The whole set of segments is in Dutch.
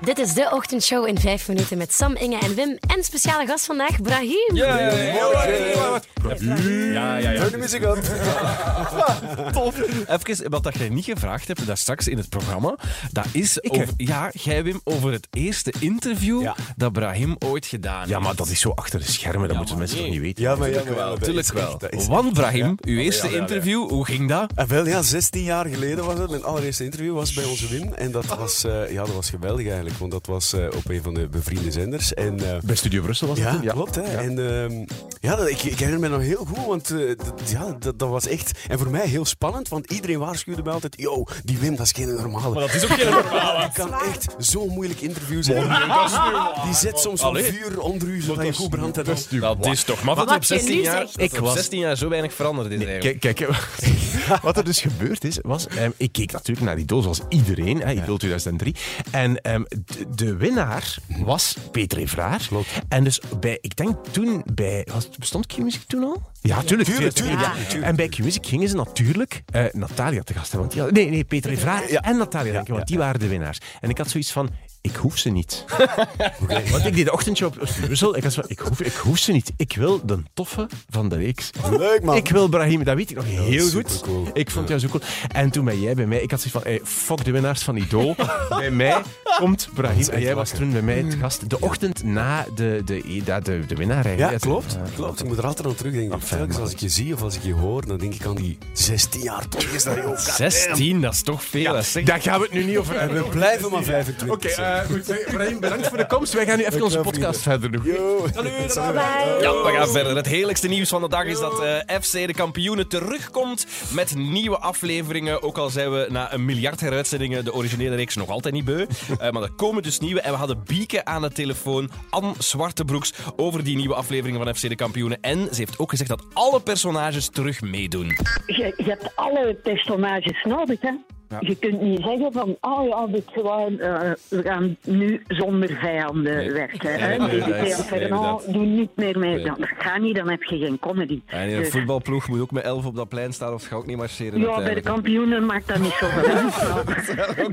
Dit is de ochtendshow in 5 minuten met Sam, Inge en Wim. En speciale gast vandaag, Brahim. Ja, ja, ja. Turn the music up. Even wat dat jij niet gevraagd hebt, dat straks in het programma. Dat is, hè? over, ja, jij Wim, over het eerste interview Ja. dat Brahim ooit gedaan heeft. Ja, maar dat is zo achter de schermen, dat moeten mensen toch niet weten. Ja, maar ja, maar ja, Tuurlijk dat is wel. echt- dat is- Want Brahim, uw eerste interview, hoe ging dat? Ah, wel, ja, 16 jaar geleden was het. Mijn allereerste interview was bij onze Wim. En dat was, eh, ja, dat was geweldig eigenlijk, want dat was eh, op een van de bevriende zenders. En, eh, Bij Studio Brussel was dat Ja, toen? klopt. Hè? En ehm, ja, dat, ik, ik herinner me nog heel goed, want eh, dat- ja, dat, dat was echt... En voor mij heel spannend, want iedereen waarschuwde mij altijd... Yo, die Wim, dat is geen normale. Maar dat is ook geen normale. Die kan echt zo moeilijk interviews hebben. Die zet soms wel Ah, Allee. vuur onder u, zodat je goed brandt. en al. Dat is toch maar Wat je nu zegt. ik was 16 jaar zo weinig veranderd is eigenlijk. Kijk, kijk, hè, wat er dus gebeurd is, was... ehm, ik keek natuurlijk naar die doos als iedereen, hè, Idol 2003. En ehm, de, de winnaar was Peter Evraar. En dus bij, ik denk toen bij... Was, bestond Q-Music toen al? Ja, tuurlijk. tuurlijk, 2003, tuurlijk, tuurlijk. En bij Q-Music gingen ze natuurlijk eh, Natalia te gast hebben. Want die had- nee, nee, Peter Evraar en Natalia, denk ik, want die waren de winnaars. En ik had zoiets van... Ik hoef ze niet. Want ik deed de ochtendshow op op Brussel. Ik had zo van, ik hoef, ik hoef ze niet. Ik wil de toffe van de reeks. Leuk, man. Ik wil Brahim, dat weet ik nog heel goed. supercool. Ik vond jou zo cool. En toen ben jij bij mij, ik had zoiets van, hey, fuck de winnaars van Idol. bij mij komt Brahim. En jij was toen bij mij Mm. te gast. De ochtend na de, de, de, de, de winnaar. eh, eigenlijk. Ja, klopt. klopt. Ik moet er altijd aan terugdenken. fijn, Telkens man. als ik je zie of als ik je hoor, dan denk ik aan die 16 jaar. Toch is dat, joh. 16, dat is toch veel. dat is echt- Daar gaan we het nu niet over hebben. We blijven maar 25. Oké, eh, goed. eh, Brahim, bedankt voor de komst. Wij gaan nu even onze podcast verder doen. Yo. Bye. Ja, we gaan verder. Het heerlijkste nieuws van de dag is dat eh, FC de kampioenen terugkomt met nieuwe afleveringen. Ook al zijn we na een miljard heruitzendingen de originele reeks nog altijd niet beu. Eh, maar er komen dus nieuwe. En we hadden Bieke aan de telefoon, Anne Zwartebroeks, over die nieuwe afleveringen van FC de kampioenen. En ze heeft ook gezegd dat alle personages terug meedoen. je, je hebt alle personages nodig, hè. Je kunt niet zeggen van, oh ja, dit gewoon, eh, we gaan nu zonder vijanden Nee. werken. Nee, Hè? nee, Nee, nee, nee, inderdaad. doe niet meer mee. Nee. Dan, dat gaat niet, dan heb je geen comedy. En in een Dus- voetbalploeg moet je ook met 11 op dat plein staan, of het gaat ook niet marcheren. ja, bij de kampioenen maakt dat niet zoveel uit.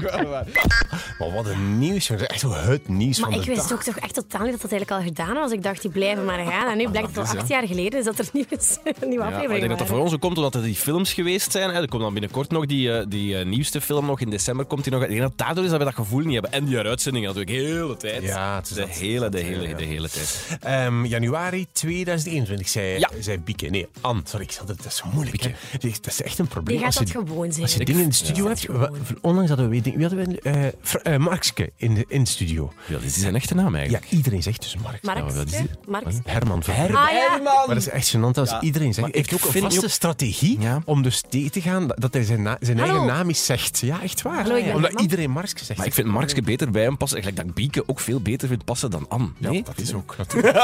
maar- Maar Oh, wat een nieuws. jongens. Echt zo het nieuws Maar van ik de dag. wist ook toch echt totaal niet dat dat eigenlijk al gedaan was. Ik dacht, die blijven maar gaan. En nu blijkt het al acht jaar geleden is dat er nieuwe, nieuwe Ja, maar ik afleveringen denk dat dat voor waren. ons ook komt omdat er die films geweest zijn. Hè. Er komt dan binnenkort nog die, eh, die eh, nieuwste film nog. In december komt die nog. Ik denk dat daardoor is dat we dat gevoel niet hebben. En die heruitzendingen natuurlijk heel de hele tijd. Ja, het is de, dat- hele, de, dat- hele, ja. de hele tijd. Ehm, januari 2021 zei, Ja. zei Bieke. Nee, Ann. Sorry, ik zat het. Dat is zo moeilijk. hè. Die- Dat is echt een probleem. Die gaat als dat je- gewoon Als je zeggen. dingen in de studio dat hebt... gewoon. wa- Onlangs hadden we... Wie hadden we? eh Fr- eh, Markske in de, in de studio. Ja, dit is zijn echte naam Ja, eigenlijk. iedereen zegt dus Markske. Marx, Nou, dat is- hè? Marx. Herman van Herman. eh, Ah ja, Maar dat is echt gênant als iedereen zegt. maar Heeft ik ook een vind vaste ook- strategie Ja. om dus tegen te gaan dat- dat hij zijn, na- zijn Hallo. eigen naam eens zegt. Ja, echt waar. Hallo, ik ben Omdat Herman. iedereen Markske zegt. Maar ik vind Markske beter bij hem passen. Gelijk dat ik Bieke ook veel beter vind passen dan Anne. Ja, Nee? dat is ook natuurlijk.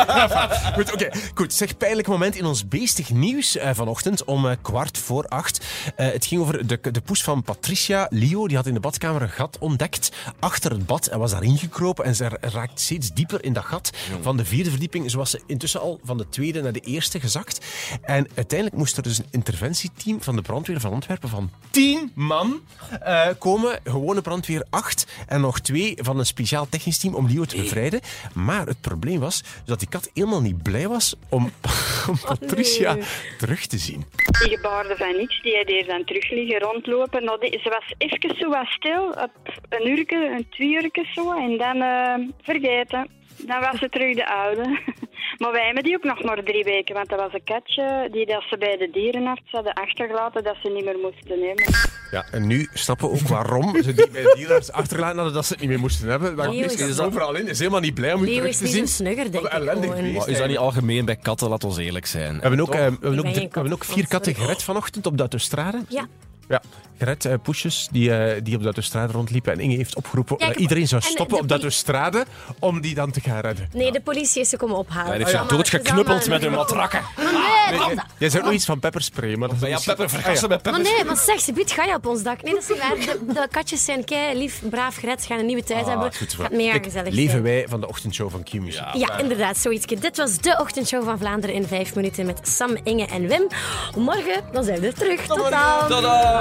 goed, oké. Goed, zeg pijnlijk moment in ons beestig nieuws eh, vanochtend om eh, kwart voor acht. Eh, het ging over de, de poes van Patricia Leo. Die had in de badkamer een gat ontdekt achter het bad en was daarin gekropen. En ze ra- raakt steeds dieper in dat gat van de vierde verdieping. Zo was ze intussen al van de tweede naar de eerste gezakt. En uiteindelijk moest er dus een interventieteam van de brandweer van Antwerpen van tien man eh, komen. Gewone brandweer acht en nog twee van een speciaal technisch team om Leo te bevrijden. Maar het probleem was dat die kat helemaal niet blij was om, om Patricia terug te zien. Die gebaarde van niks, die deed hier dan terug liggen rondlopen. Nou, die- ze was even zo wat stil, op een uurtje, een twee uurtjes zo, en dan eh, vergeten. Dan was ze terug de oude. Maar wij hebben die ook nog maar drie weken, want dat was een katje die dat ze bij de dierenarts hadden achtergelaten dat ze niet meer moesten nemen. Ja, en nu snappen we ook waarom ze die bij de dealers achterlaten hadden dat ze het niet meer moesten hebben. Waar Leo niks is- is dat overal in. Is helemaal niet blij om u Leo terug is te niet zien. een snugger, denk Wat een ik ellendig gewoon. beest. Maar is dat niet algemeen bij katten? Laat ons eerlijk zijn. We hebben ook, eh, we Ik hebben ben ook, geen drie- we kat. hebben ook vier Oh, katten sorry. gered vanochtend op de autostrade. Ja. Ja, gered eh, poesjes die, eh, die op de autostrade rondliepen. En Inge heeft opgeroepen Ja, ik dat heb- iedereen zou en stoppen de op de poli- autostrade om die dan te gaan redden. Nee, de politie is ze komen ophalen. Hij heeft ze Het is allemaal- doodgeknuppeld het met is hun allemaal- matrakken. Maar nee, Jij zei ook nog iets van pepperspray, maar dat is Ah, Maar ja, misschien- Pepper, vergassen met maar Pepper. nee, maar zeg, ze biedt, ga je op ons dak? Nee, dat is niet waar. De, de katjes zijn kei lief, braaf, gered, ze gaan een nieuwe tijd hebben. Ah, goed zo. Gaat mega Kijk, gezellig Leven zijn. wij van de ochtendshow van Q-Music. Ja, inderdaad, zoiets. Dit was de ochtendshow van Vlaanderen in 5 minuten met Sam, Inge en Wim. Morgen dan zijn we er terug. Tot dan. Tadaa,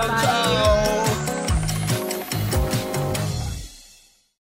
ciao.